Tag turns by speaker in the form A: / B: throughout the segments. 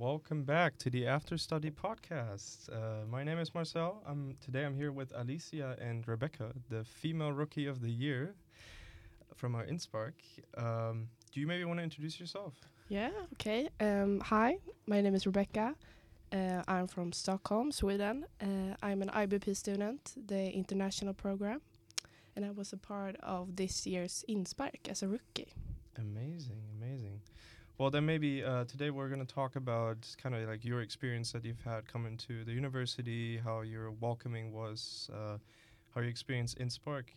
A: Welcome back to the After Study podcast. Uh, my name is Marcel. I'm, today I'm here with Alicia and Rebecca, the female rookie of the year from our InSpark. Um, do you maybe want to introduce yourself?
B: Yeah, okay. Um, hi, my name is Rebecca. Uh, I'm from Stockholm, Sweden. Uh, I'm an IBP student, the international program, and I was a part of this year's Inspark as a rookie.
A: Amazing, amazing. Well, then maybe uh, today we're going to talk about kind of like your experience that you've had coming to the university, how your welcoming was, uh, how you experienced in Spark.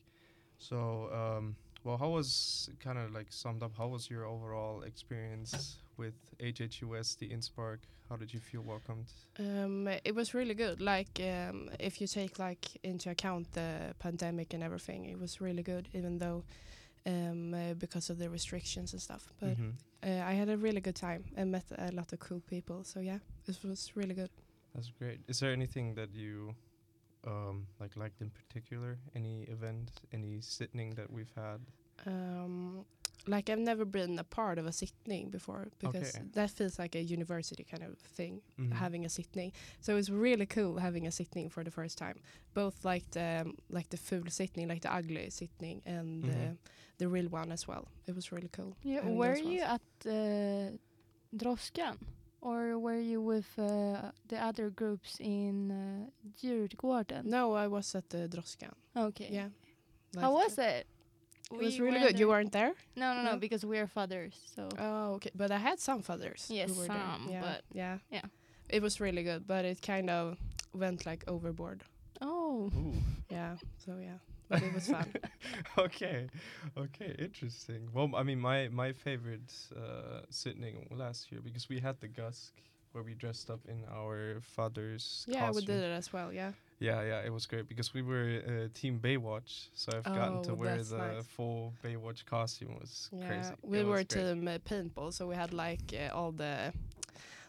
A: So, um, well, how was kind of like summed up? How was your overall experience with HHUS, the InSpark? How did you feel welcomed?
B: Um, it was really good. Like, um, if you take like into account the pandemic and everything, it was really good, even though um, uh, because of the restrictions and stuff. But
A: Mhm.
B: uh, I had a really good time and met a lot of cool people. So yeah, it was really good.
A: That's great. Is there anything that you um, like liked in particular? Any event, any sitting that we've had?
B: Um, like I've never been a part of a sitting before because
A: Okay.
B: that feels like a university kind of thing,
A: Mhm.
B: having a sitting. So it's really cool having a sitting for the first time. Both like the um, like the full sitting, like the ugly sitting, and
A: Mhm.
B: uh, the real one as well. It was really cool.
C: Yeah,
B: having
C: were
B: those ones.
C: you at uh, Droskan? Or were you with uh, the other groups in uh, Djurgården?
B: No, I was at the Droskan.
C: Okay.
B: Yeah.
C: How
B: Like
C: was it?
B: It was really good. You weren't there?
C: No, no, no,
B: No?
C: because we're fathers. So
B: Oh, okay. But I had some fathers.
C: Yes,
B: who were there.
C: some,
B: Yeah,
C: but-
B: yeah,
C: yeah.
B: It was really good, but it kind of went like overboard.
C: oh,
A: Ooh.
B: Yeah. So yeah, but it was fun.
A: okay, okay, interesting. Well, I mean, my my favorite uh, sitting last year because we had the Gusk where we dressed up in our father's
B: yeah, we
A: costume.
B: did it as well. Yeah.
A: Yeah, yeah, it was great because we were uh, team Baywatch, so I've gotten to
B: Oh,
A: wear
B: that's
A: the
B: nice.
A: full Baywatch costume. It was
B: Yeah.
A: crazy.
B: We
A: It
B: were
A: was great.
B: team uh, paintball, so we had like uh, all the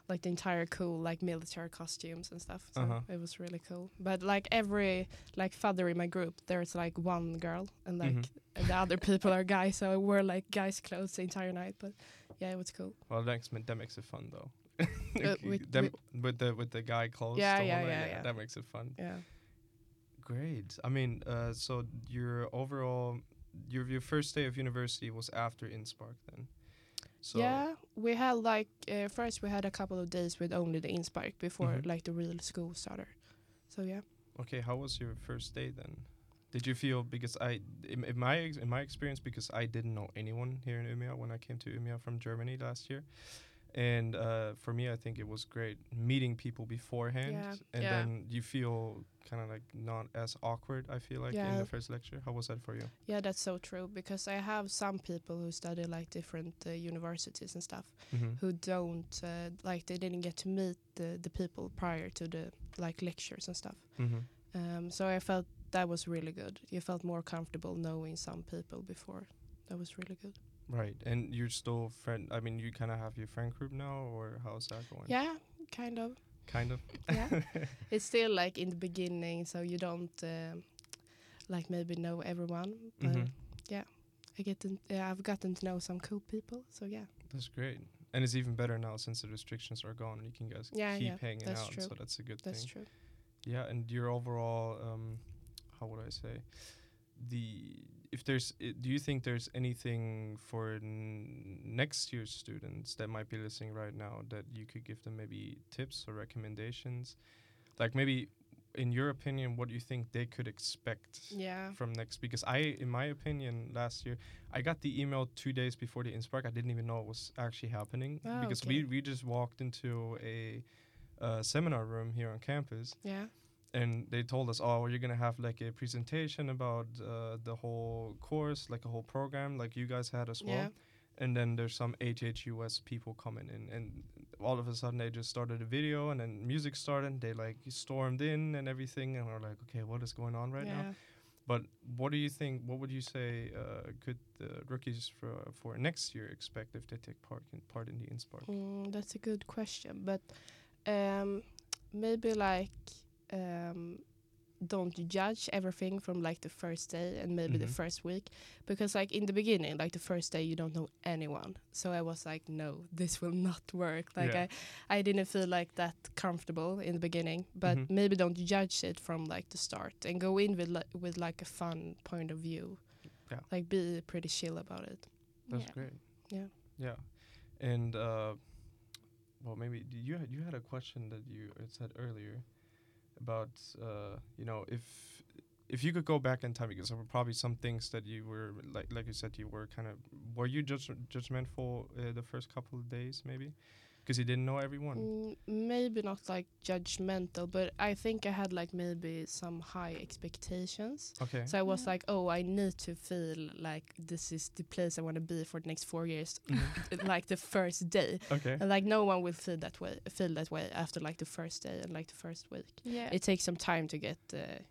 B: like the entire cool like military costumes and stuff. So
A: Uh-huh.
B: it was really cool. But like every like father in my group, there's like one girl and like
A: Mhm.
B: the other people are guys, so I wore like guys clothes the entire night. But yeah, it was cool.
A: Well, next ma- that makes it fun though. Okay,
B: with-
A: them- with the with the guy clothes.
B: Yeah,
A: the
B: yeah,
A: one,
B: yeah, yeah.
A: That makes it fun.
B: Yeah.
A: Great. I mean, uh, so your overall, your your first day of university was after InSpark then. So
B: yeah, we had like uh, first we had a couple of days with only the Inspark before
A: Mhm.
B: like the real school started. So yeah,
A: Okay, how was your first day then? Did you feel because I in, in my ex- in my experience because I didn't know anyone here in Umeå when I came to Umeå from Germany last year, and uh, for me I think it was great meeting people beforehand,
B: Yeah.
A: and
B: Yeah.
A: then you feel kind of like not as awkward. I feel like in
B: Yeah.
A: the first lecture. How was that for you?
B: yeah, that's so true because I have some people who study like different uh, universities and stuff
A: Mhm.
B: who don't uh, like they didn't get to meet the, the people prior to the like lectures and stuff.
A: Mhm.
B: Um, so I felt that was really good. You felt more comfortable knowing some people before. That was really good.
A: Right, and you're still friend. I mean, you kind of have your friend group now, or how's that going?
B: Yeah, kind of.
A: kind of.
B: yeah it's still like in the beginning so you don't um, like maybe know everyone but
A: Mhm.
B: yeah i get to, yeah, i've gotten to know some cool people so yeah
A: That's great. And it's even better now since the restrictions are gone. You can guys
B: Yeah,
A: keep
B: yeah,
A: hanging
B: that's
A: out,
B: true.
A: so that's a good
B: that's
A: thing.
B: true
A: Yeah, and your overall, um, how would I say, the if there's, i do you think there's anything for n- next year's students that might be listening right now that you could give them maybe tips or recommendations, like maybe in your opinion, what do you think they could expect?
B: yeah
A: from next because I, in my opinion, last year I got the email two days before the Inspark. I didn't even know it was actually happening
B: Ah,
A: because we
B: okay.
A: we just walked into a uh, seminar room here on campus
B: yeah
A: and they told us, oh, you're gonna have like a presentation about uh, the whole course, like a whole program, like you guys had as well.
B: yeah
A: And then there's some HHUS people coming in, and all of a sudden they just started a video, and then music started. And they like stormed in and everything, and we're like, okay, what is going on right now?
B: yeah.
A: But what do you think? What would you say uh, could the rookies for for next year expect if they take part in part in the Inspark?
B: Mm, that's a good question but um, maybe like um, don't judge everything from like the first day and maybe the
A: Mhm.
B: first week because like in the beginning like the first day you don't know anyone so i was like no this will not work like
A: Yeah.
B: i i didn't feel like that comfortable in the beginning but
A: Mhm.
B: maybe don't judge it from like the start and go in with li- with like a fun point of view
A: Yeah.
B: like be pretty chill about it
A: That's
C: Yeah.
A: great.
B: Yeah.
A: Yeah, and uh, well, maybe d- you had, you had a question that you had said earlier about uh, you know if if you could go back in time because there were probably some things that you were like like you said you were kind of were you judge, judgmental uh, the first couple of days maybe because you didn't know everyone.
B: Mm, maybe not like judgmental, but I think I had like maybe some high expectations.
A: Okay.
B: Mm. So I was
C: Yeah.
B: like, oh, I need to feel like this is the place I want to be for the next four years, uh, like the first day.
A: okay.
B: And like no one will feel that way, feel that way after like the first day and like the first week.
C: Yeah.
B: It takes some time to get uh,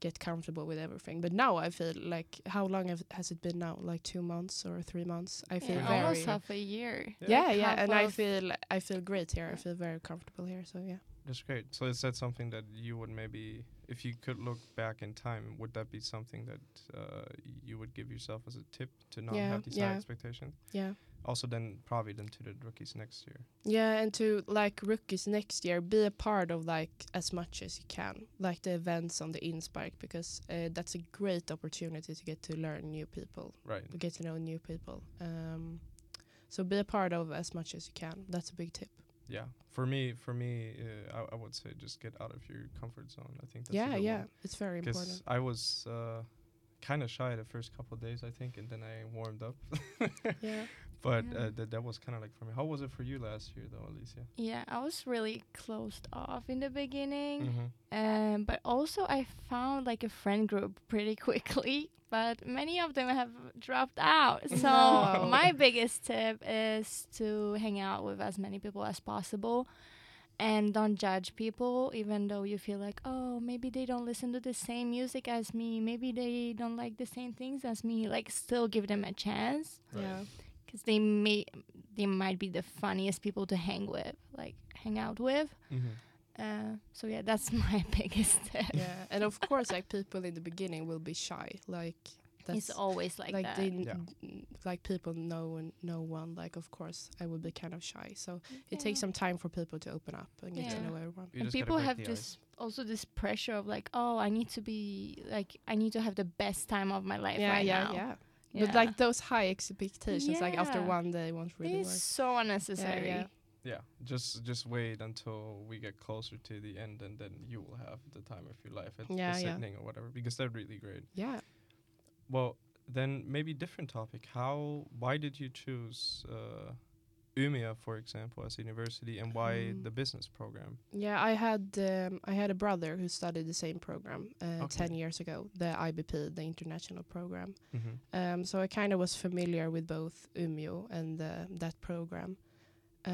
B: get comfortable with everything. But now I feel like how long have, has it been now? Like two months or three months? I feel
C: yeah,
B: very
C: almost half a year.
B: yeah,
C: Like
B: yeah,
C: half
B: and I
C: of-
B: feel I feel great here. I
C: Yeah.
B: feel very comfortable here. So yeah.
A: That's great. So is that something that you would maybe, if you could look back in time, would that be something that uh, you would give yourself as a tip to not
B: Yeah,
A: have these high
B: yeah.
A: expectations?
B: Yeah.
A: Also, then probably then to the rookies next year.
B: Yeah, and to like rookies next year, be a part of like as much as you can, like the events on the Inspire, because uh, that's a great opportunity to get to learn new people,
A: Right.
B: get to know new people. Um, so be a part of as much as you can. That's a big tip.
A: Yeah. For me, for me, uh, I, I would say just get out of your comfort zone. I think that's a
B: yeah,
A: good
B: yeah,
A: one.
B: it's very important.
A: I was uh, kind of shy the first couple of days, I think, and then I warmed up.
B: yeah,
A: But
C: Yeah.
A: uh, that that was kind of like for me. How was it for you last year, though, Alicia?
C: Yeah, I was really closed off in the beginning.
A: Mm-hmm.
C: Um, but also I found like a friend group pretty quickly, but many of them have dropped out. So
B: No.
C: my biggest tip is to hang out with as many people as possible and don't judge people even though you feel like oh maybe they don't listen to the same music as me maybe they don't like the same things as me like still give them a chance
B: yeah,
C: because they may they might be the funniest people to hang with like hang out with
A: Mm-hmm.
C: uh, so yeah, that's my biggest uh, tip.
B: yeah. And of course, like people in the beginning will be shy, like that's
C: it's always like,
B: like,
C: that.
B: they
A: Yeah.
B: n- like people know and no one like of course i would be kind of shy so it takes
C: Yeah.
B: some time for people to open up and get to
C: Yeah.
B: know everyone
A: You
C: and
A: just gotta
C: people
A: break
C: have
A: the ice.
C: this also this pressure of like, oh, I need to be like, I need to have the best time of my life
B: yeah
C: right
B: yeah,
C: now.
B: yeah
C: Yeah.
B: but like those high expectations like after
C: Yeah.
B: one day won't really
C: it's so unnecessary.
B: yeah.
A: Yeah, just just wait until we get closer to the end, and then you will have the time of your life at
B: Yeah,
A: the
B: yeah.
A: sitting or whatever. Because they're really great.
B: work yeah
A: Well, then maybe different topic. How? Why did you choose uh, Umea, for example, as a university, and why
B: Um,
A: the business program?
B: yeah i had um, i had a brother who studied the same program uh,
A: Okay.
B: 10 years ago the ibp the international program
A: Mm-hmm.
B: Um, so I kind of was familiar with both Umeå and uh, that program.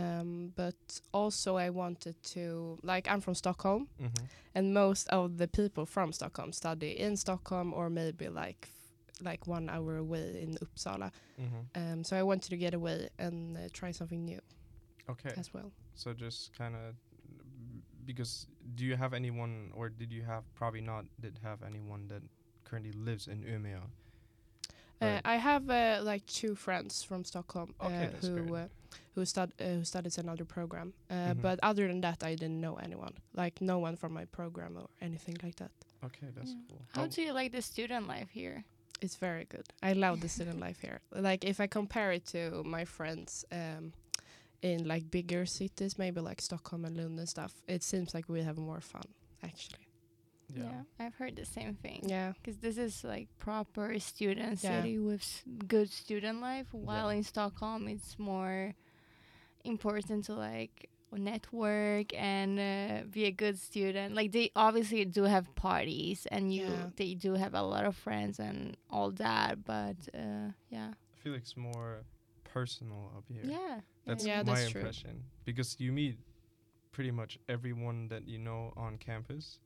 B: Um, but also I wanted to, like I'm from Stockholm
A: Mm-hmm.
B: and most of the people from Stockholm study in Stockholm or maybe like f- like one hour away in Uppsala.
A: Mm-hmm.
B: Um, so I wanted to get away and uh, try something new
A: Okay,
B: as well.
A: so just kind of because do you have anyone, or did you have probably not? Did have anyone that currently lives in Umea?
B: Uh,
A: Right.
B: I have uh, like two friends from Stockholm
A: Okay,
B: uh,
A: that's
B: who
A: good.
B: uh, who, stud- uh, who studies another program. Uh,
A: Mhm.
B: But other than that, I didn't know anyone, like no one from my program or anything like that.
A: Okay, that's
C: Yeah.
A: cool.
C: How do you like the student life here?
B: It's very good. I love the student life here. Like if I compare it to my friends um, in like bigger cities, maybe like Stockholm and Lund and stuff, it seems like we have more fun actually.
A: yeah.
C: I've heard the same thing.
B: Yeah,
C: Because this is like proper student
B: Yeah.
C: city with s- good student life, while in Stockholm it's more important to like network and uh, be a good student. Like they obviously do have parties and you
B: Yeah.
C: they do have a lot of friends and all that, but uh, yeah,
A: I feel like it's more personal up here.
C: yeah,
A: That's
B: Yeah,
A: my
B: that's true.
A: impression. Because you meet pretty much everyone that you know on campus.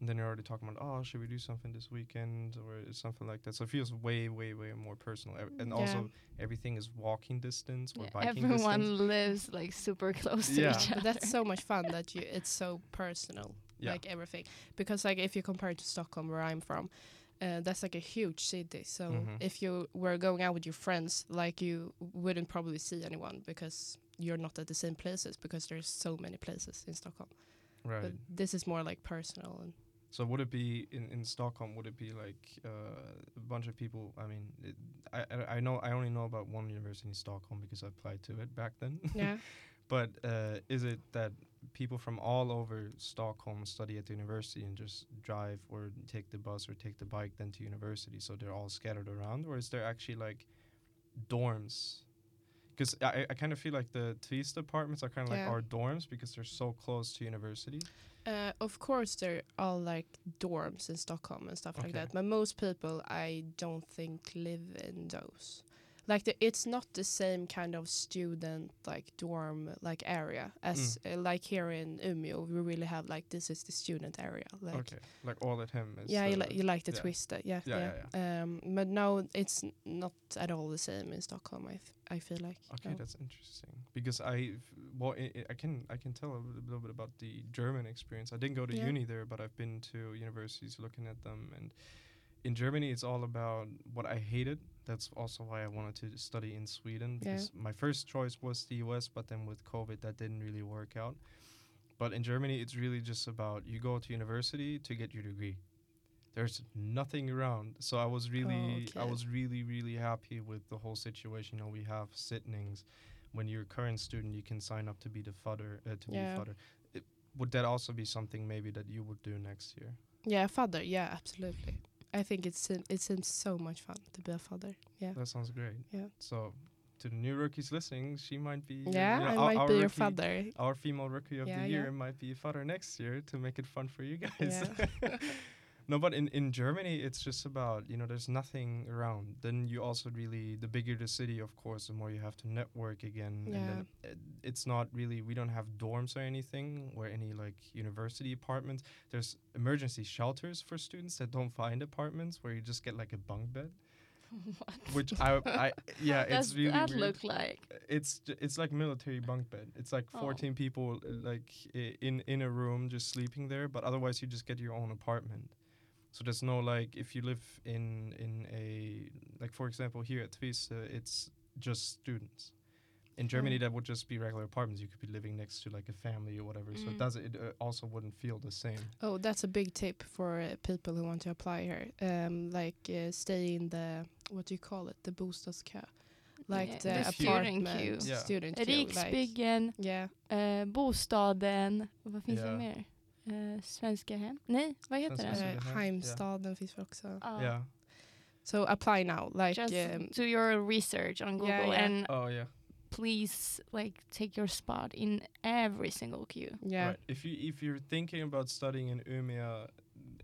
A: And then you're already talking about, oh, should we do something this weekend or something like that? So it feels way, way, way more personal. Ev- And
B: Yeah.
A: also, everything is walking distance or
C: Yeah,
A: biking
C: everyone
A: distance.
C: lives like super close to
A: Yeah.
C: each other.
B: but that's so much fun that you it's so personal.
A: Yeah.
B: like everything. Because like if you compare it to Stockholm, where I'm from, uh, that's like a huge city. So
C: Mm-hmm.
A: Mhm.
B: if you were going out with your friends, like you wouldn't probably see anyone because you're not at the same places because there's so many places in Stockholm.
A: Right.
B: But this is more like personal and
A: So would it be in, in Stockholm? Would it be like uh, a bunch of people? I mean, it, I- I I know I only know about one university in Stockholm because I applied to it back then.
B: yeah.
A: but uh, is it that people from all over Stockholm study at the university and just drive or take the bus or take the bike then to university? So they're all scattered around, or is there actually like dorms? Because I, I kind of feel like the Twist apartments are kind of like
B: Yeah.
A: our dorms because they're so close to university.
B: Uh, of course, they're all like dorms in Stockholm and stuff like
A: Okay.
B: that. But most people, I don't think, live in those. Like the, it's not the same kind of student like dorm like area as
A: Mm.
B: uh, like here in Umeå. We really have like this is the student area. Like
A: okay, like all at him. Is
B: yeah, you,
A: the-
B: li- you like the
A: yeah.
B: twister. Yeah,
A: Yeah,
B: yeah.
A: yeah,
B: Um, but no, it's n- not at all the same in Stockholm. I f- I feel like. oh.
A: Okay,
B: no.
A: that's interesting because I well I, I- I can I can tell a little- little bit about the German experience. I didn't go to
B: Yeah.
A: uni there, but I've been to universities looking at them, and in Germany it's all about what I hated. That's also why I wanted to study in Sweden
B: Yeah.
A: because my first choice was the U.S., but then with COVID that didn't really work out. But in Germany, it's really just about you go to university to get your degree. There's nothing around, so I was really, I
B: Oh, okay.
A: was really, really happy with the whole situation. You know, we have sittings. When you're a current student, you can sign up to be the fudder. Uh, to
B: Yeah.
A: be fudder. It, would that also be something maybe that you would do next year?
B: Yeah, father. Yeah, absolutely. I think it's it seems so much fun to be a father. Yeah.
A: That sounds great.
B: Yeah.
A: So, to the new rookies listening, she might be. your-
B: Yeah,
A: you know,
B: I
A: our-
B: might
A: our
B: be your
A: rookie-
B: father.
A: Our female rookie of
B: Yeah,
A: the year
B: yeah.
A: might be fudder next year to make it fun for you guys.
B: Yeah.
A: No, but in, in Germany, it's just about, you know, there's nothing around. Then you also really, the bigger the city, of course, the more you have to network again. And then it, it's not really, we don't have dorms or anything or any like university apartments. There's emergency shelters for students that don't find apartments where you just get like a bunk bed, which I, I yeah,
C: That's
A: it's really
C: that
A: weird
C: look like.
A: it's j- it's like military bunk bed. It's like
C: Oh.
A: 14 people uh, like i- in in a room just sleeping there, but otherwise you just get your own apartment. So there's no like if you live in in a like for example here at Twiz, uh, it's just students.
C: Mm.
A: In Germany,
B: Oh.
A: that would just be regular apartments. You could be living next to like a family or whatever. So it
C: Mm.
A: does it uh, also wouldn't feel the same.
B: Oh, that's a big tip for uh, people who want to apply here. Um, like uh, stay in the what do you call it, the bostadskö, like
C: Yeah,
B: the,
A: the
C: student
B: apartment
C: queue.
A: Yeah.
B: student queue. Like,
C: Riksbyggen,
B: yeah,
C: eh, bostaden, vad finns
A: Ja.
C: det mer? Eh, svenska hem? Nej, vad heter
B: uh,
A: Svenska
C: det?
A: hem. Yeah.
B: Heimstaden finns väl också.
C: Ja.
A: Yeah.
B: So apply now. Like
C: Just
B: um,
C: do your research on
B: Yeah,
C: Google
B: yeah.
C: and
A: Oh yeah.
C: please like take your spot in every single queue.
B: yeah,
A: Right. If you if you're thinking about studying in Umeå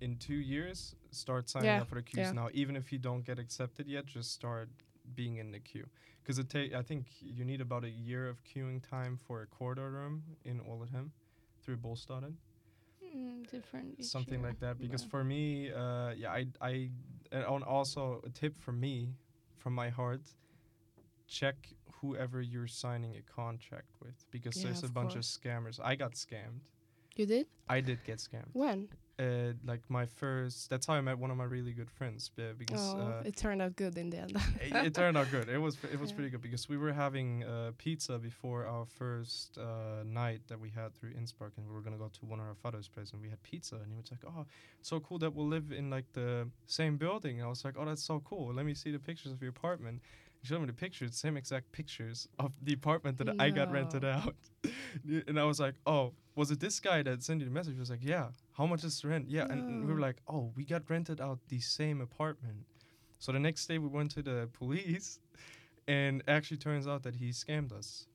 A: in two years, start signing
B: Yeah,
A: up for the queues
B: yeah.
A: now. Even if you don't get accepted yet, just start being in the queue because it take. I think you need about a year of queuing time for a corridor room in Olahem through Bolstaden
C: Mm, different each
A: something
C: year.
A: like that because
C: Yeah.
A: for me uh yeah i i and on- also a tip from me from my heart check whoever you're signing a contract with because
B: Yeah,
A: there's a
B: of
A: bunch of scammers i got scammed
B: you did
A: i did get scammed
B: when?
A: uh like my first that's how i met one of my really good friends uh, because
B: Oh,
A: uh,
B: it turned out good in the end.
A: it, it turned out good. It was it was
B: Yeah.
A: pretty good because we were having uh, pizza before our first uh, night that we had through Innsbruck, and we were gonna go to one of our father's place, and we had pizza, and he was like, "Oh, so cool that we'll live in like the same building." And I was like, "Oh, that's so cool. Let me see the pictures of your apartment." He showed me the pictures, same exact pictures of the apartment that I got rented
B: No.
A: out, and I was like, "Oh." Was it this guy that sent you the message? He was like, "Yeah, how much is the rent?" Yeah, and, and we were
B: No.
A: like, "Oh, we got rented out the same apartment." So the next day we went to the police, and actually turns out that he scammed us.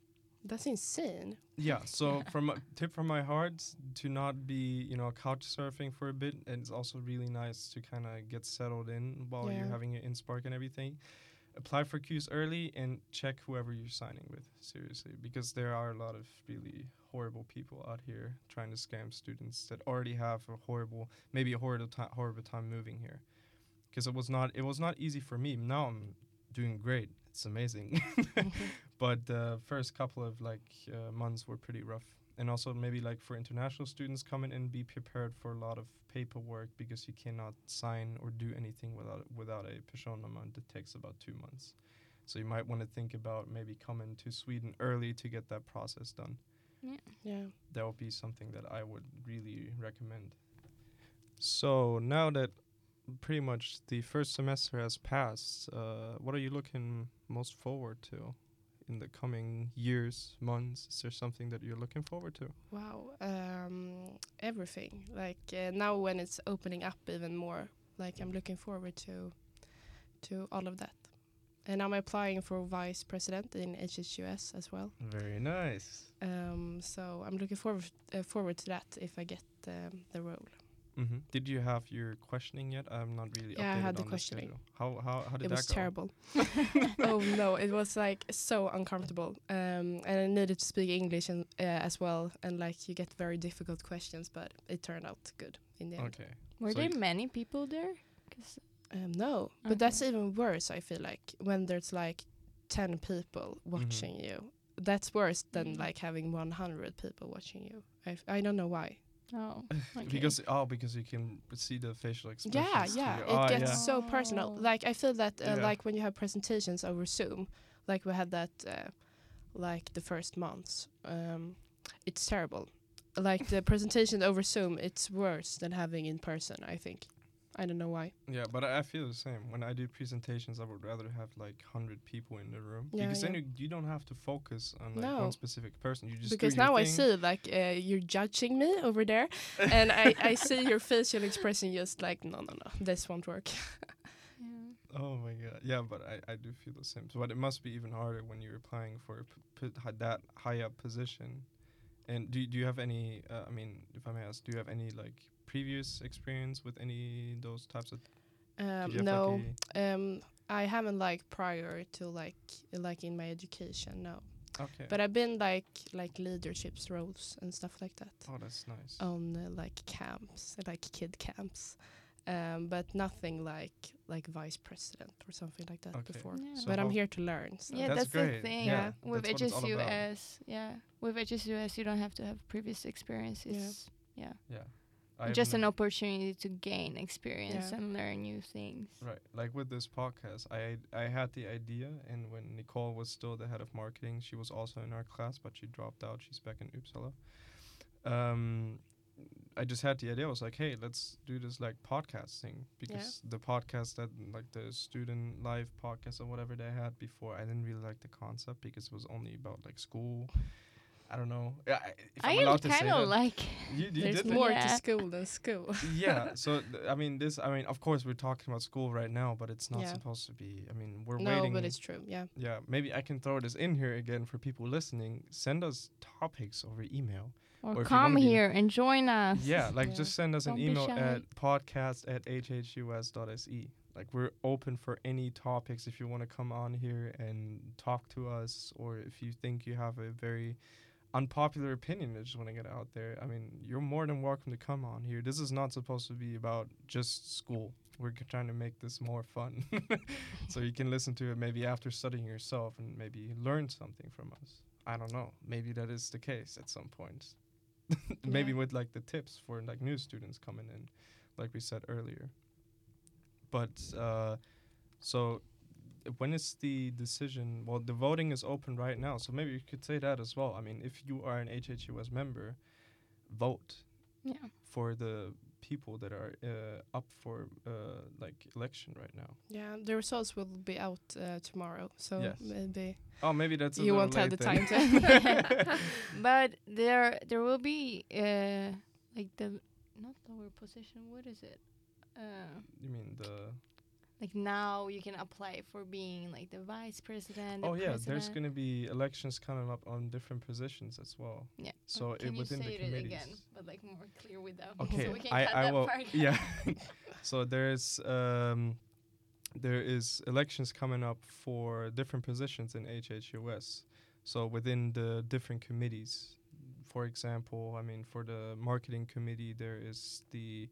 B: That's insane.
A: Yeah. So from a tip from my heart to not be you know couch surfing for a bit, and it's also really nice to kind of get settled in while you're
B: Yeah.
A: having your Inspark and everything. Apply for queues early and check whoever you're signing with seriously, because there are a lot of really horrible people out here trying to scam students that already have a horrible, maybe a horrible time, horrible time moving here. Because it was not, it was not easy for me. Now I'm doing great. It's amazing. but the first couple of like uh, months were pretty rough and also maybe like for international students coming in, be prepared for a lot of paperwork because you cannot sign or do anything without without a personaman that takes about two months. So you might want to think about maybe coming to Sweden early to get that process done.
B: Yeah.
A: That would be something that I would really recommend. So now that pretty much the first semester has passed, uh, what are you looking most forward to in the coming years, months? Is there something that you're looking forward to?
B: Wow. Um, everything. Like uh, now when it's opening up even more, like I'm looking forward to to all of that. And I'm applying for vice president in HSUS as well.
A: Very nice.
B: Um, so I'm looking forward uh, forward to that if I get um, the role.
A: hmm Did you have your questioning yet? I'm not really.
B: Yeah, I
A: updated
B: had the
A: on
B: questioning.
A: schedule. How how how did
B: it
A: that
B: was
A: go?
B: terrible. oh no, it was like so uncomfortable. Um, and I needed to speak English and, uh, as well. And like you get very difficult questions, but it turned out good in the end.
A: Okay.
C: Were
A: So
C: there
A: y-
C: many people there? 'Cause-
B: Um, no,
C: Okay.
B: but that's even worse. I feel like when there's like ten people
C: Mm-hmm.
B: watching you, that's worse than
C: Mm.
B: like having one hundred people watching you. I f- I don't know why.
C: oh, okay.
A: Because oh, because you can see the facial expressions.
B: yeah,
A: to
B: yeah,
A: you.
B: it
A: Ah,
B: gets
A: yeah.
B: so personal.
C: Oh.
B: Like I feel that uh,
A: Yeah.
B: like when you have presentations over Zoom, like we had that uh, like the first months, um, it's terrible. Like the presentation over Zoom, it's worse than having in person. I think. I don't know why.
A: Yeah, but I I feel the same. When I do presentations, I would rather have like hundred people in the room
B: Yeah,
A: because then
B: yeah.
A: you, you don't have to focus on like
B: No.
A: one specific person. You just do
B: because
A: your
B: now I
A: thing.
B: see like uh, you're judging me over there, and I, I see your facial expression just like no no no this won't work.
C: Yeah.
A: Oh my god. Yeah, but I, I do feel the same. So, but it must be even harder when you're applying for a p- p- hi- that high up position. And do do you have any? Uh, I mean, if I may ask, do you have any like previous experience with any those types of?
B: Um,
A: did you have,
B: no,
A: like,
B: um, I haven't like prior to like like in my education no.
A: a- okay.
B: But I've been like like leaderships roles and stuff like that
A: oh, that's nice.
B: on uh, like camps, uh, like kid camps, um, but nothing like like vice president or something like that
A: Okay.
B: before.
C: Yeah. So
B: but I'm
A: how-
B: here to learn. So.
C: Yeah,
A: That's
C: that's,
A: great.
C: the thing.
A: Yeah,
C: with
A: that's what it's all about.
C: HSUS, yeah, with HSUS, you don't have to have previous experience.
B: Yeah.
C: It's yeah,
A: Yeah. I
C: just
A: haven't-
C: an opportunity to gain experience
B: Yeah.
C: and learn new things.
A: Right. Like with this podcast, I I had the idea, and when Nicole was still the head of marketing, she was also in our class, but she dropped out. She's back in Uppsala. Um, I just had the idea. I was like, hey, let's do this like podcast thing because the podcast that like the student live podcast or whatever they had before, I didn't really like the concept because it was only about like school. I don't know. Yeah, I- if I'm
C: I
A: allowed to say
C: kind of
A: that.
C: like
A: you, you
B: There's
A: did
C: it.
B: more to
C: Yeah.
B: school than school.
A: yeah so th- i mean this i mean of course we're talking about school right now but it's not
B: Yeah.
A: supposed to be i mean we're
B: no,
A: waiting
B: but it's true. Yeah.
A: yeah maybe i can throw this in here again for people listening send us topics over email
C: or,
A: Or if you wanna
C: come
A: be-
C: here and join us.
A: yeah like
B: Yeah.
A: just send us an
C: Don't be
A: email
C: shy.
A: at podcast at hhus.se E. like we're open for any topics if you want to come on here and talk to us or if you think you have a very unpopular opinion i just want to get out there i mean you're more than welcome to come on here this is not supposed to be about just school we're c- trying to make this more fun so you can listen to it maybe after studying yourself and maybe learn something from us i don't know maybe that is the case at some point maybe
B: Yeah.
A: with like the tips for like new students coming in like we said earlier but uh so when is the decision? Well, the voting is open right now, so maybe you could say that as well. I mean, if you are an HHUS member, vote
C: Yeah.
A: for the people that are uh, up for uh, like election right now.
B: Yeah, the results will be out uh, tomorrow, so
A: Yes.
B: maybe
A: Oh, maybe that's a
B: you
A: little
B: won't have the
A: late
B: time
A: then.
B: to.
C: but there there will be uh like the not lower position. What is it? Uh,
A: you mean the?
C: like now you can apply for being like the vice president.
A: oh
C: the
A: yeah,
C: president.
A: there's gonna be elections coming up on different positions as well.
C: Yeah.
A: So it,
C: Can you
A: within
C: say
A: the
C: it
A: committees.
C: again, but like more clear without me,
A: Okay,
C: so we can
A: I,
C: cut
A: I
C: that
A: will.
C: part.
A: Yeah. so there's um, there is elections coming up for different positions in HHUS. So within the different committees, for example, I mean for the marketing committee there is the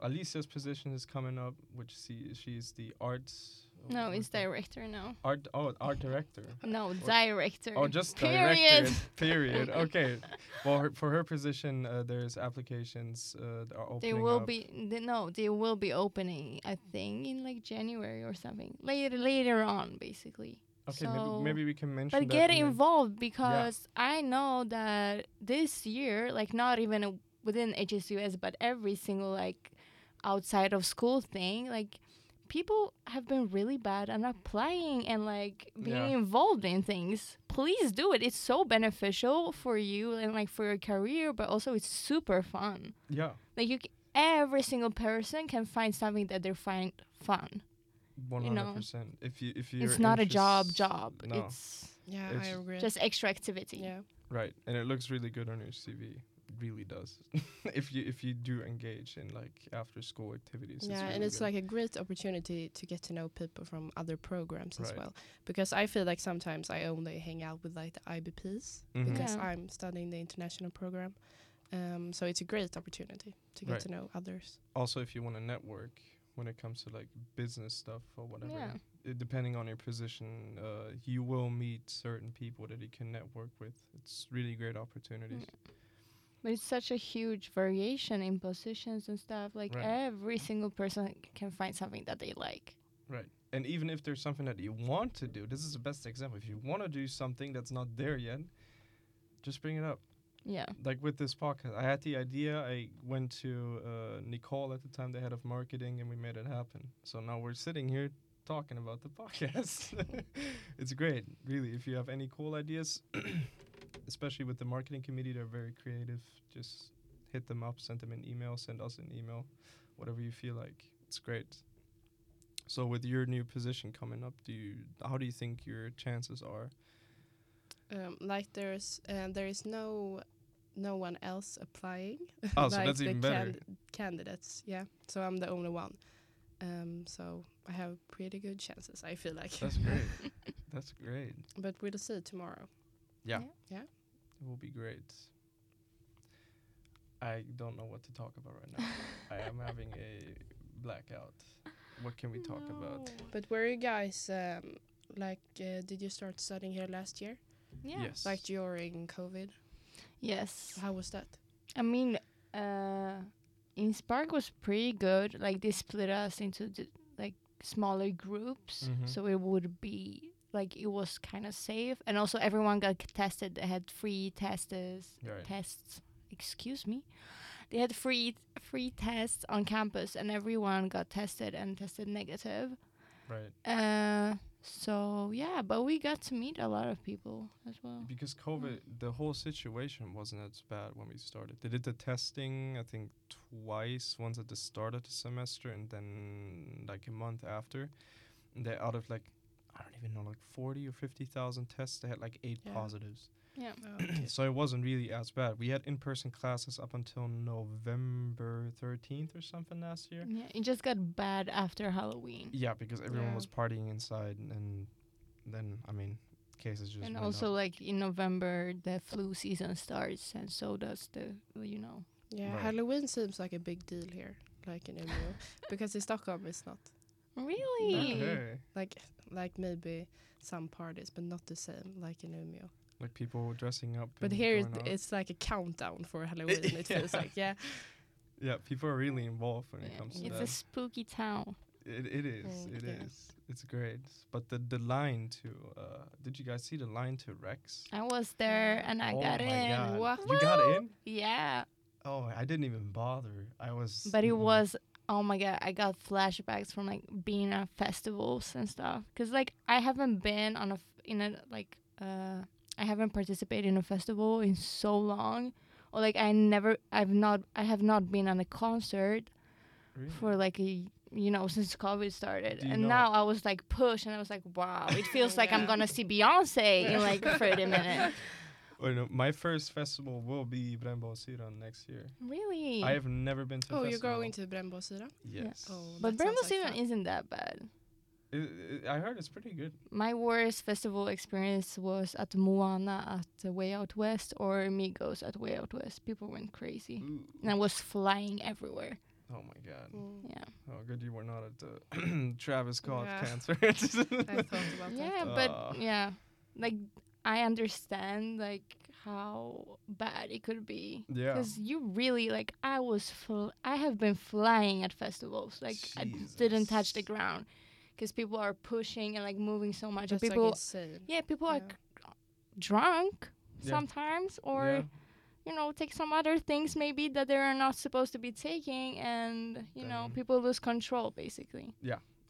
A: Alicia's position is coming up, which she she's the arts.
C: No, it's
A: director.
C: director now.
A: Art oh art director.
C: No, director.
A: Oh, just
C: Period.
A: director. Period. Okay. Well, her, for her position, uh, there's applications uh, that are opening.
C: They will
A: up.
C: be they, no, they will be opening. I think in like January or something. Later, later on, basically.
A: Okay,
C: so-
A: maybe, maybe we can mention.
C: But
A: that
C: get
A: in the-
C: involved because I know that this year, like not even a, within HSUS, but every single like outside of school thing, like people have been really bad on applying and like being
A: Yeah.
C: involved in things. Please do it. It's so beneficial for you and like for your career, but also it's super fun.
A: Yeah.
C: Like you, c- every single person can find something that they find fun.
A: One
C: you know,
A: hundred percent. If you if you
C: it's not a job, job.
A: No.
C: It's
B: Yeah, I
A: It's-
B: agree.
C: just extra activity.
B: yeah.
A: right, and it looks really good on your CV. It really does. if you if you do engage in like after school activities.
B: yeah,
A: really
B: and it's
A: good.
B: like a great opportunity to get to know people from other programs as
A: Right.
B: well. Because I feel like sometimes I only hang out with like the IBPs
A: Mhm.
B: because
C: Yeah.
B: I'm studying the international program. Um, so it's a great opportunity to get
A: Right.
B: to know others.
A: also if you want to network when it comes to like business stuff or whatever
C: Yeah.
A: it- depending on your position uh, you will meet certain people that you can network with it's really great opportunities
C: But it's such a huge variation in positions and stuff. Like
A: Right.
C: every single person can find something that they like.
A: right and even if there's something that you want to do this is the best example if you want to do something that's not there yet just bring it up
C: Yeah.
A: like with this podcast i had the idea i went to uh, nicole at the time the head of marketing and we made it happen so now we're sitting here talking about the podcast it's great really if you have any cool ideas especially with the marketing committee they're very creative just hit them up send them an email send us an email whatever you feel like it's great so with your new position coming up do you how do you think your chances are
B: Um, like there's uh, there is no no one else applying.
A: oh so
B: like
A: that's
B: the
A: even better
B: candi- candidates, yeah. So I'm the only one. Um, so I have pretty good chances. I feel like,
A: that's great that's great
B: but we'll see tomorrow.
A: Yeah.
B: Yeah.
A: It will be great. I don't know what to talk about right now. I am having a blackout. What can we talk about?
B: But were you guys um, like, uh, did you start studying here last year?
C: Yeah.
A: Yes.
B: Like during COVID?
C: Yes.
B: How was that?
C: I mean, uh, in Spark was pretty good. Like they split us into the, like smaller groups,
A: Mhm.
C: so it would be like it was kind of safe, and also everyone got c- tested. They had free testers,
A: Right.
C: tests. Excuse me. They had free free tests on campus, and everyone got tested and tested negative.
A: Right.
C: Uh, so yeah, but we got to meet a lot of people as
B: Oh.
C: well.
A: Because COVID, the whole situation wasn't as bad when we started. They did the testing, I think, twice. Once at the start of the semester, and then like a month after. And they out of like, I don't even know, like forty or fifty thousand tests, they had like eight
B: Yeah.
A: positives.
C: Yeah.
A: so it wasn't really as bad. We had in-person classes up until November 13th or something last year.
C: Yeah, it just got bad after Halloween.
A: Yeah, because everyone
B: Yeah.
A: was partying inside, and then I mean, cases just
C: and
A: went
C: also
A: up.
C: like in november the flu season starts and so does the you know
B: yeah,
A: Right.
B: Halloween seems like a big deal here, like in Umeå, because in Stockholm it's not.
C: really
A: Okay.
B: Like, like maybe some parties, but not the same like in Umeå.
A: like people dressing up.
B: But
A: and
B: here it,
A: going out.
B: it's like a countdown for Halloween. It feels
A: Yeah.
B: like yeah,
A: yeah, people are really involved when it
C: Yeah,
A: comes to
C: it's
A: that.
C: a spooky town
A: It, it is.
B: Mm,
A: it is.
B: yeah.
A: It's great. But the the line to uh, did you guys see the line to Rex?
C: i was there and i
A: oh
C: got
A: my
C: in
A: God.
B: What?
A: You got in?
C: yeah
A: Oh, I didn't even bother. I was.
C: but it
A: mm,
C: was oh my god i got flashbacks from like being at festivals and stuff because like i haven't been on a f- in a like uh i haven't participated in a festival in so long or like i never i've not i have not been on a concert
A: really?
C: for like a you know since covid started
A: Do you
C: and
A: know-
C: now i was like pushed and i was like wow it feels like i'm
B: Yeah.
C: gonna see beyonce in like 30 minutes
A: Oh, no, my first festival will be Brembo Siran next year.
C: really
A: I have never been to. a
B: oh, you're
A: festival.
B: going to Brännbosyran?
A: Yes.
B: Oh,
C: but
B: that sounds
C: Brembo
B: like
C: Season
B: fun.
C: isn't that bad
A: I I- I heard it's pretty good.
C: my worst festival experience was at moana at uh, way out
A: Mm.
C: west or migos at way out west people went crazy and i was flying everywhere
A: Oh my god.
B: Mm.
C: Yeah.
A: Oh, good you were not at the Travis Scott
B: Yeah.
A: concert.
B: I thought about that.
C: Yeah,
A: Uh.
C: but yeah, like I understand like how bad it could be.
A: Yeah.
C: Because you really like I was full. I have been flying at festivals. Like I didn't touch the
A: Jesus.
C: ground because people are pushing and like moving so much. And
B: That's
C: people,
B: like insane.
C: yeah, people are
B: yeah.
C: c- drunk
A: Yeah.
C: sometimes or.
A: Yeah.
C: you know, take some other things maybe that they are not supposed to be taking, and you know,
A: Damn.
C: people lose control basically.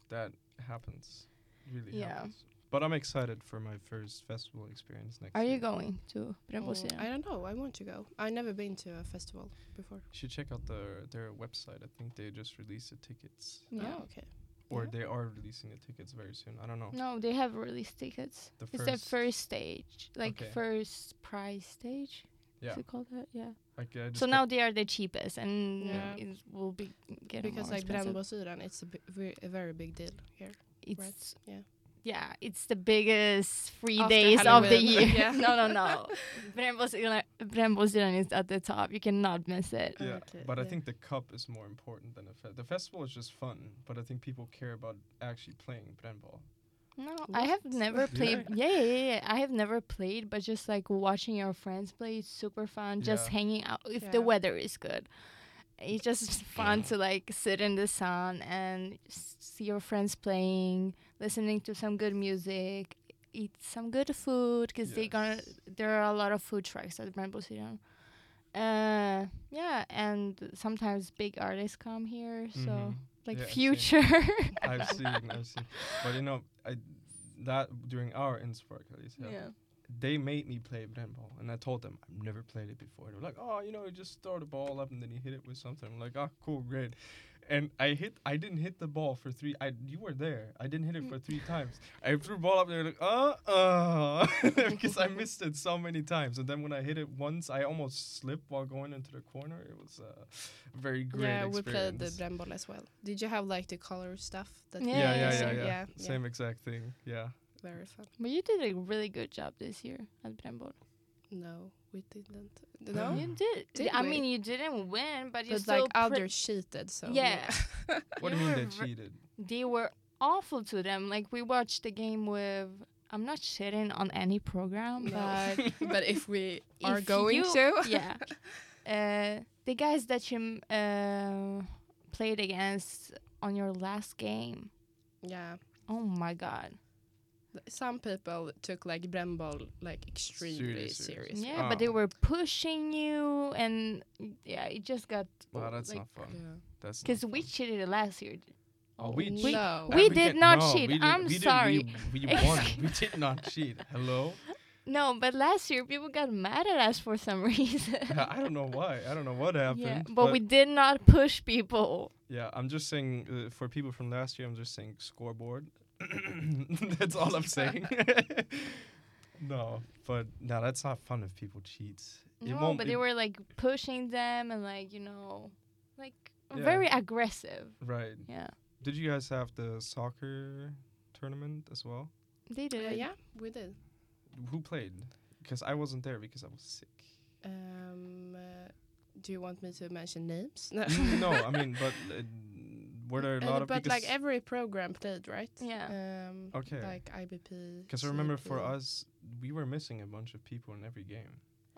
A: that happens. Really
C: Yeah.
A: happens. But I'm excited for my first festival experience next
C: Are
A: year.
C: you going to Brembosina?
B: I don't know. I want to go. I've never been to a festival before.
A: You should check out their their website. I think they just released the tickets.
C: Yeah.
B: Oh, okay.
A: Or
B: Yeah.
A: they are releasing the tickets very soon. I don't know.
C: No, they have released tickets.
A: The
C: it's the first stage, like
A: Okay.
C: first prize stage.
A: Yeah.
C: Is it called that? Yeah.
A: Like, I just
C: So
A: got-
C: now they are the cheapest, and
B: Yeah.
C: it will be getting
B: because
C: more
B: like
C: expensive.
B: Brännbosyran, it's a, bi- ve- a very big deal here.
C: It's
B: yeah.
C: yeah, it's the biggest free
B: After
C: days of the year.
B: Halloween, yeah.
C: no, no, no. Brembosina Brembosina is at the top. You cannot miss it.
A: Yeah,
B: Okay,
A: but I
B: yeah.
A: think the cup is more important than the fe- the festival is just fun. But I think people care about actually playing brandball.
C: No, I have
B: What?
C: never
A: Yeah.
C: played. Yeah, yeah, yeah, yeah. I have never played, but just like watching your friends play, it's super fun. Just
A: Yeah.
C: hanging out if
B: Yeah.
C: the weather is good. It's just fun to like sit in the sun and s- see your friends playing, listening to some good music, eat some good food because they gonna
A: Yes.
C: there are a lot of food trucks at Rainbow City. Uh, yeah, and sometimes big artists come here, so
A: Mhm.
C: like
A: Yeah, I've seen-
C: Future.
A: I've seen, I've seen. But you know, I that during our Innsbruck at least, yeah, they made me play brandball, and I told them I've never played it before. They were like, "Oh, you know, you just throw the ball up and then you hit it with something." I'm like, "Ah, cool, great." And I hit. I didn't hit the ball for three. I you were there. I didn't hit it for three times. I threw ball up. They were like, "Uh, uh," because I missed it so many times. And then when I hit it once, I almost slipped while going into the corner. It was a very great
B: yeah, we played
A: experience.
B: the Brembol as well. Did you have like the color stuff? That
C: Yeah,
B: we
A: yeah,
B: did?
A: yeah,
C: yeah,
A: yeah,
B: So,
A: yeah,
B: yeah.
A: Same exact thing. Yeah.
B: Very fun.
C: But you did a really good job this year at Brembor.
B: No, we didn't. No,
C: You did.
B: Did
C: I
B: we?
C: mean, you didn't win, but you
B: but
C: still
B: like others cheated. So
C: Yeah.
A: What do
C: You
A: you mean
C: were
A: they
C: ver-
A: cheated?
C: They were awful to them. Like we watched the game with. I'm not shitting on any program,
B: No.
C: but
B: but if we
C: If
B: are going
C: you-
B: to,
C: yeah, uh, the guys that you um, uh, played against on your last game.
B: yeah.
C: Oh my god.
B: Th- Some people took like Brembol like extremely
A: Serious, serious.
B: serious.
C: Yeah, but they
A: Oh.
C: were pushing you, and yeah, it just got.
A: Wow, that's
C: like,
A: not fun. That's not
C: Because we
A: fun.
C: cheated last year.
A: Oh, we
C: no.
A: cheated.
B: No.
A: That
C: we did
A: can't-
C: not
A: no,
C: cheat.
A: we didn't-
C: I'm
A: we didn't-
C: sorry.
A: We, we won. we did not cheat. Hello.
C: No, but last year people got mad at us for some reason.
A: I don't know why. I don't know what happened.
C: yeah, but,
A: but,
C: we did not push people.
A: yeah, I'm just saying uh, for people from last year. I'm just saying scoreboard. that's all I'm saying. no, but no, that's not fun if people cheat. It
C: No,
A: won't
C: but
A: be-
C: they were like pushing them and like you know, like
A: Yeah.
C: very aggressive.
A: right.
C: Yeah,
A: Did you guys have the soccer tournament as well?
C: they did.
B: Uh,
C: it.
B: yeah, we did.
A: Who played? Because I wasn't there because I was sick.
B: Um, uh, do you want me to mention names? No.
A: Mm, no, I mean, but uh, were there a
B: Uh,
A: lot of
B: but
A: because
B: like every program played, right?
C: Yeah.
B: Um,
A: Okay.
B: Like IBP.
A: Because I remember for
B: CP.
A: us, we were missing a bunch of people in every game.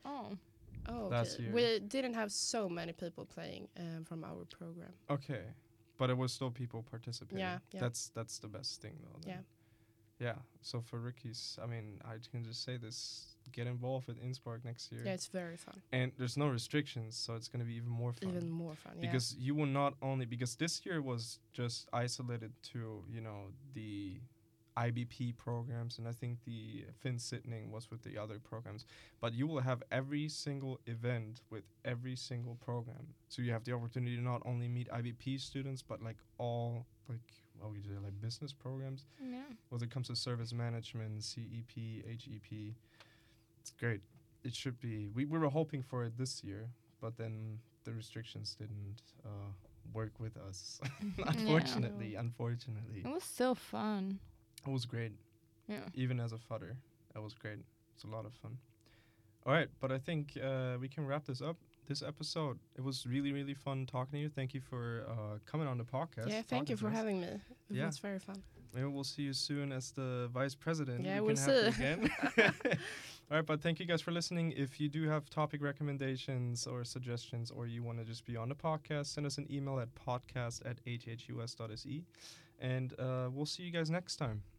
C: Oh,
B: Oh, okay.
A: last year.
B: we didn't have so many people playing um, from our program.
A: Okay, but it was still people participating.
B: Yeah, yeah.
A: That's that's the best thing though. then. Yeah. So for rookies, I mean, I can just say this: get involved with Innsbruck next year,
B: Yeah, it's very fun.
A: and there's no restrictions, so it's gonna be even more fun.
B: Even more fun. Yeah.
A: because you will not only because this year was just isolated to you know the IBP programs and I think the Finn Sitting was with the other programs, but you will have every single event with every single program, so you have the opportunity to not only meet IBP students but like all like what we do like business programs
C: yeah.
A: whether it comes to service management, E CEP, HEP. It's great. It should be. We, we were hoping for it this year, but then the restrictions didn't uh, work with us. unfortunately, unfortunately.
C: It was so fun.
B: Mm-hmm.
A: It was great,
C: Yeah.
A: even as a fodder. That was great. It's a lot of fun. All right, but I think uh, we can wrap this up. this episode. It was really, really fun talking to you. Thank you for uh, coming on the podcast.
B: yeah, thank you
A: talking to
B: for
A: us.
B: having me. It
A: Yeah.
B: was very fun.
A: Maybe we'll see you soon as the vice president.
B: Yeah,
A: we
B: we'll
A: can have you again. All right, but thank you guys for listening. If you do have topic recommendations or suggestions, or you want to just be on the podcast, send E. us an email at podcast at hhus.se. And uh, we'll see you guys next time.